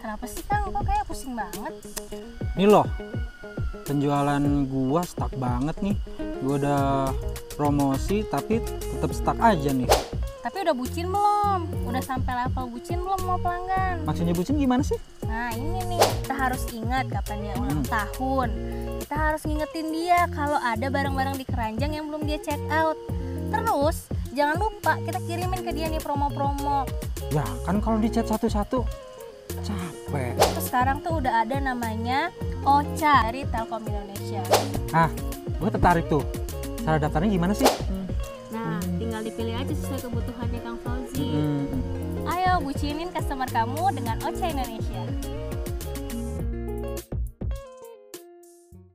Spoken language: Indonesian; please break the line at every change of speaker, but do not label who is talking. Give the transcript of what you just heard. Kenapa sih Kang? Kok kayak pusing banget?
Nih loh, penjualan gua stuck banget nih. Gua udah promosi tapi tetap stuck aja nih.
Tapi udah bucin belum? Udah sampai level bucin belum mau pelanggan?
Maksudnya bucin gimana sih?
Nah ini nih, kita harus ingat kapan dia ulang tahun. Kita harus ngingetin dia kalau ada barang-barang di keranjang yang belum dia check out. Terus jangan lupa kita kirimin ke dia nih promo-promo.
Ya kan kalau dicat satu-satu capek.
Terus sekarang tuh udah ada namanya Ocha dari Telkom Indonesia.
Ah, gua tertarik tuh. Cara daftarnya gimana sih?
Nah, tinggal dipilih aja sesuai kebutuhannya Kang Fauzi.
Hmm.
Ayo bucinin customer kamu dengan Ocha Indonesia.